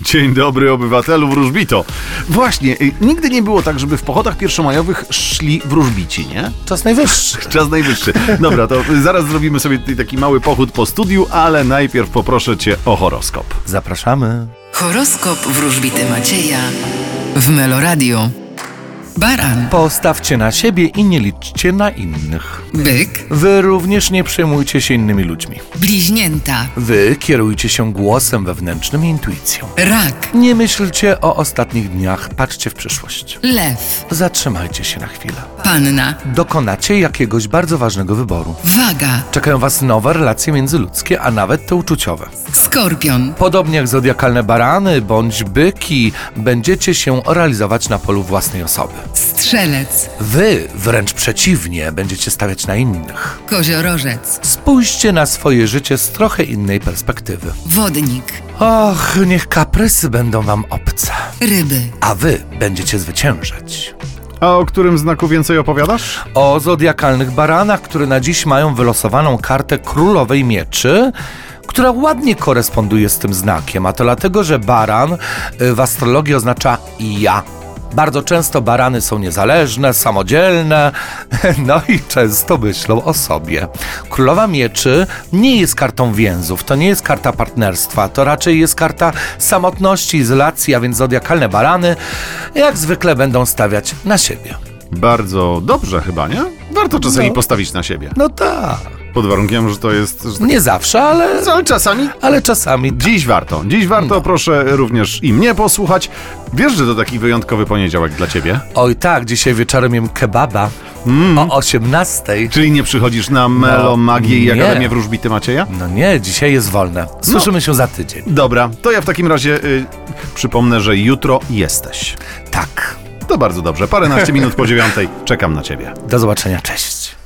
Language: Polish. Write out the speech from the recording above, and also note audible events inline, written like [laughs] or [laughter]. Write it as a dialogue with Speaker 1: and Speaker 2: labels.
Speaker 1: Dzień dobry obywatelu wróżbito. Właśnie, y, nigdy nie było tak, żeby w pochodach pierwszomajowych szli wróżbici, nie?
Speaker 2: Czas najwyższy.
Speaker 1: Czas najwyższy. Dobra, to y, zaraz zrobimy sobie tutaj taki mały pochód po studiu, ale najpierw poproszę cię o horoskop.
Speaker 2: Zapraszamy.
Speaker 3: Horoskop wróżbity Macieja w Meloradio. Baran,
Speaker 2: Postawcie na siebie i nie liczcie na innych.
Speaker 3: byk,
Speaker 2: Wy również nie przejmujcie się innymi ludźmi.
Speaker 3: bliźnięta,
Speaker 2: Wy kierujcie się głosem wewnętrznym i intuicją.
Speaker 3: rak,
Speaker 2: Nie myślcie o ostatnich dniach, patrzcie w przyszłość.
Speaker 3: lew,
Speaker 2: Zatrzymajcie się na chwilę.
Speaker 3: panna,
Speaker 2: Dokonacie jakiegoś bardzo ważnego wyboru.
Speaker 3: waga,
Speaker 2: Czekają Was nowe relacje międzyludzkie, a nawet te uczuciowe.
Speaker 3: skorpion,
Speaker 2: Podobnie jak zodiakalne barany bądź byki, będziecie się realizować na polu własnej osoby.
Speaker 3: strzelec,
Speaker 2: Wy wręcz przeciwnie będziecie stawiać na innych.
Speaker 3: koziorożec,
Speaker 2: Spójrzcie na swoje życie z trochę innej perspektywy.
Speaker 3: wodnik,
Speaker 2: Och, niech kaprysy będą wam obce,
Speaker 3: ryby,
Speaker 2: a wy będziecie zwyciężać.
Speaker 1: A o którym znaku więcej opowiadasz?
Speaker 2: O zodiakalnych baranach, które na dziś mają wylosowaną kartę królowej mieczy, która ładnie koresponduje z tym znakiem, a to dlatego, że baran y, w astrologii oznacza ja. Bardzo często barany są niezależne, samodzielne, [laughs] no i często myślą o sobie. Królowa Mieczy nie jest kartą więzów, to nie jest karta partnerstwa, to raczej jest karta samotności, izolacji, a więc zodiakalne barany jak zwykle będą stawiać na siebie.
Speaker 1: Bardzo dobrze chyba, nie? Warto czasami postawić na siebie.
Speaker 2: No tak.
Speaker 1: Pod warunkiem, że to jest... Że tak...
Speaker 2: Nie zawsze, ale,
Speaker 1: No, Ale czasami
Speaker 2: ale czasami.
Speaker 1: Dziś warto. Dziś warto, proszę również i mnie posłuchać. Wiesz, że to taki wyjątkowy poniedziałek dla ciebie?
Speaker 2: Oj tak, dzisiaj wieczorem jem kebaba o 18.
Speaker 1: Czyli nie przychodzisz na Melomagię i
Speaker 2: nie.
Speaker 1: Akademię Wróżbity Macieja?
Speaker 2: No nie, dzisiaj jest wolne. Słyszymy się za tydzień.
Speaker 1: Dobra, to ja w takim razie y, przypomnę, że jutro jesteś.
Speaker 2: Tak.
Speaker 1: To bardzo dobrze. Paręnaście minut po dziewiątej. Czekam na ciebie.
Speaker 2: Do zobaczenia, cześć.